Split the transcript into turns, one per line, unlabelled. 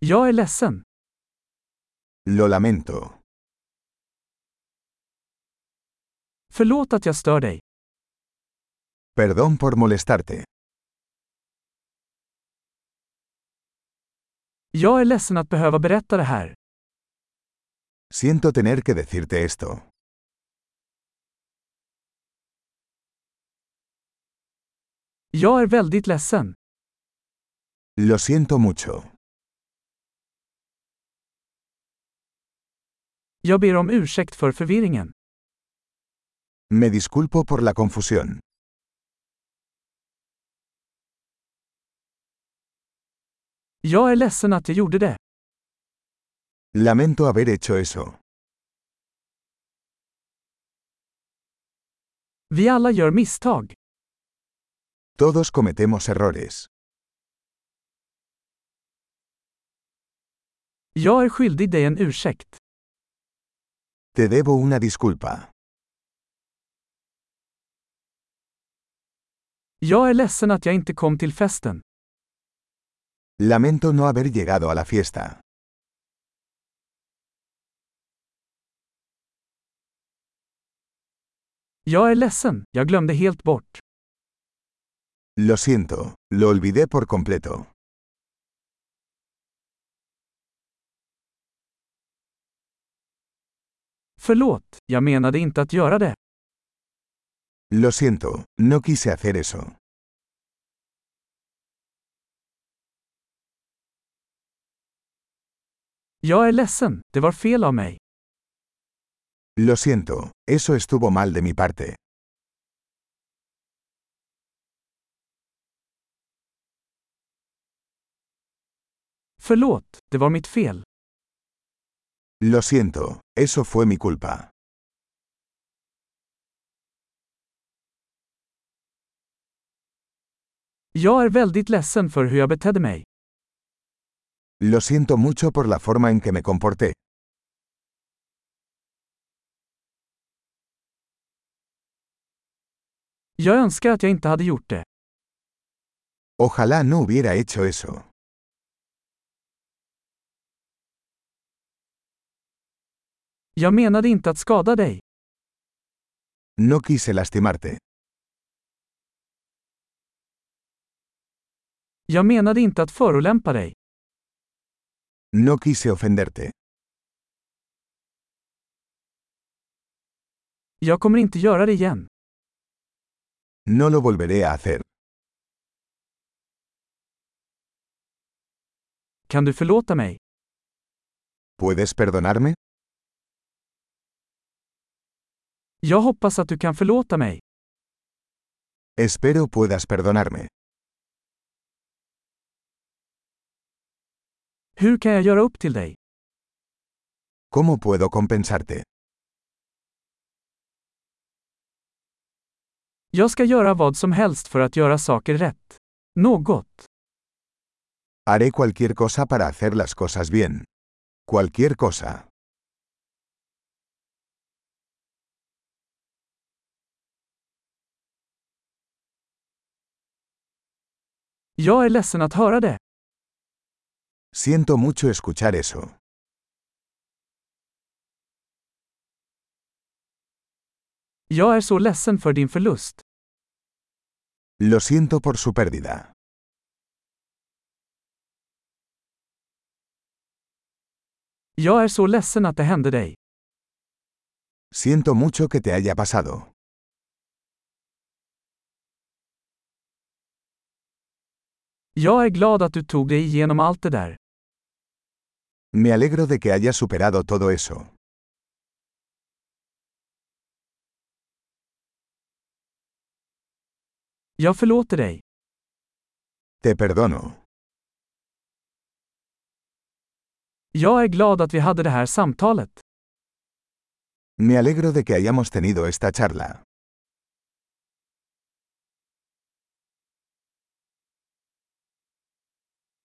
Jag är ledsen.
Lo lamento.
Förlåt att jag stör dig.
Perdón por molestarte.
Jag är ledsen att behöva berätta det här.
Siento tener que decirte esto.
Jag är väldigt ledsen.
Lo siento mucho.
Jag ber om ursäkt för förvirringen.
Me disculpo por la confusión.
Jag är ledsen att jag gjorde det.
Lamento haber hecho eso.
Vi alla gör misstag.
Todos cometemos errores.
Jag är skyldig dig en ursäkt.
Te debo una disculpa.
Jag är ledsen att jag inte kom till festen.
Lamento no haber llegado a la fiesta.
Jag är ledsen, jag glömde helt bort.
Lo siento, lo olvidé por completo.
Förlåt, jag menade inte att göra det.
Lo siento, no quise hacer eso.
Jag är ledsen, det var fel av mig.
Lo siento, eso estuvo mal de mi parte.
Förlåt, det var mitt fel.
Lo siento, eso fue mi culpa.
Jag är väldigt ledsen för hur jag betedde mig.
Lo siento mucho por la forma en que me comporté.
Jag önskar att jag inte hade gjort det.
Ojalá no hubiera hecho eso.
Jag menade inte att skada dig.
No quise lastimarte.
Jag menade inte att förolämpa dig.
No quise ofenderte.
Jag kommer inte göra det igen.
No lo volveré a hacer.
Kan du förlåta mig?
¿Puedes perdonarme?
Jag hoppas att du kan förlåta mig.
Espero puedas perdonarme.
Hur kan jag göra upp till dig?
¿Cómo puedo compensarte?
Jag ska göra vad som helst för att göra saker rätt. Något.
Haré cualquier cosa para hacer las cosas bien. Cualquier cosa.
Jag är ledsen att höra det.
Siento mucho escuchar eso.
Jag är så ledsen för din förlust.
Lo siento por su pérdida.
Jag är så ledsen att det hände dig.
Siento mucho que te haya pasado.
Jag är glad att du tog dig igenom allt det där.
Me alegro de que hayas superado todo eso.
Jag förlåter dig.
Te perdono.
Jag är glad att vi hade det här samtalet.
Me alegro de que hayamos tenido esta charla.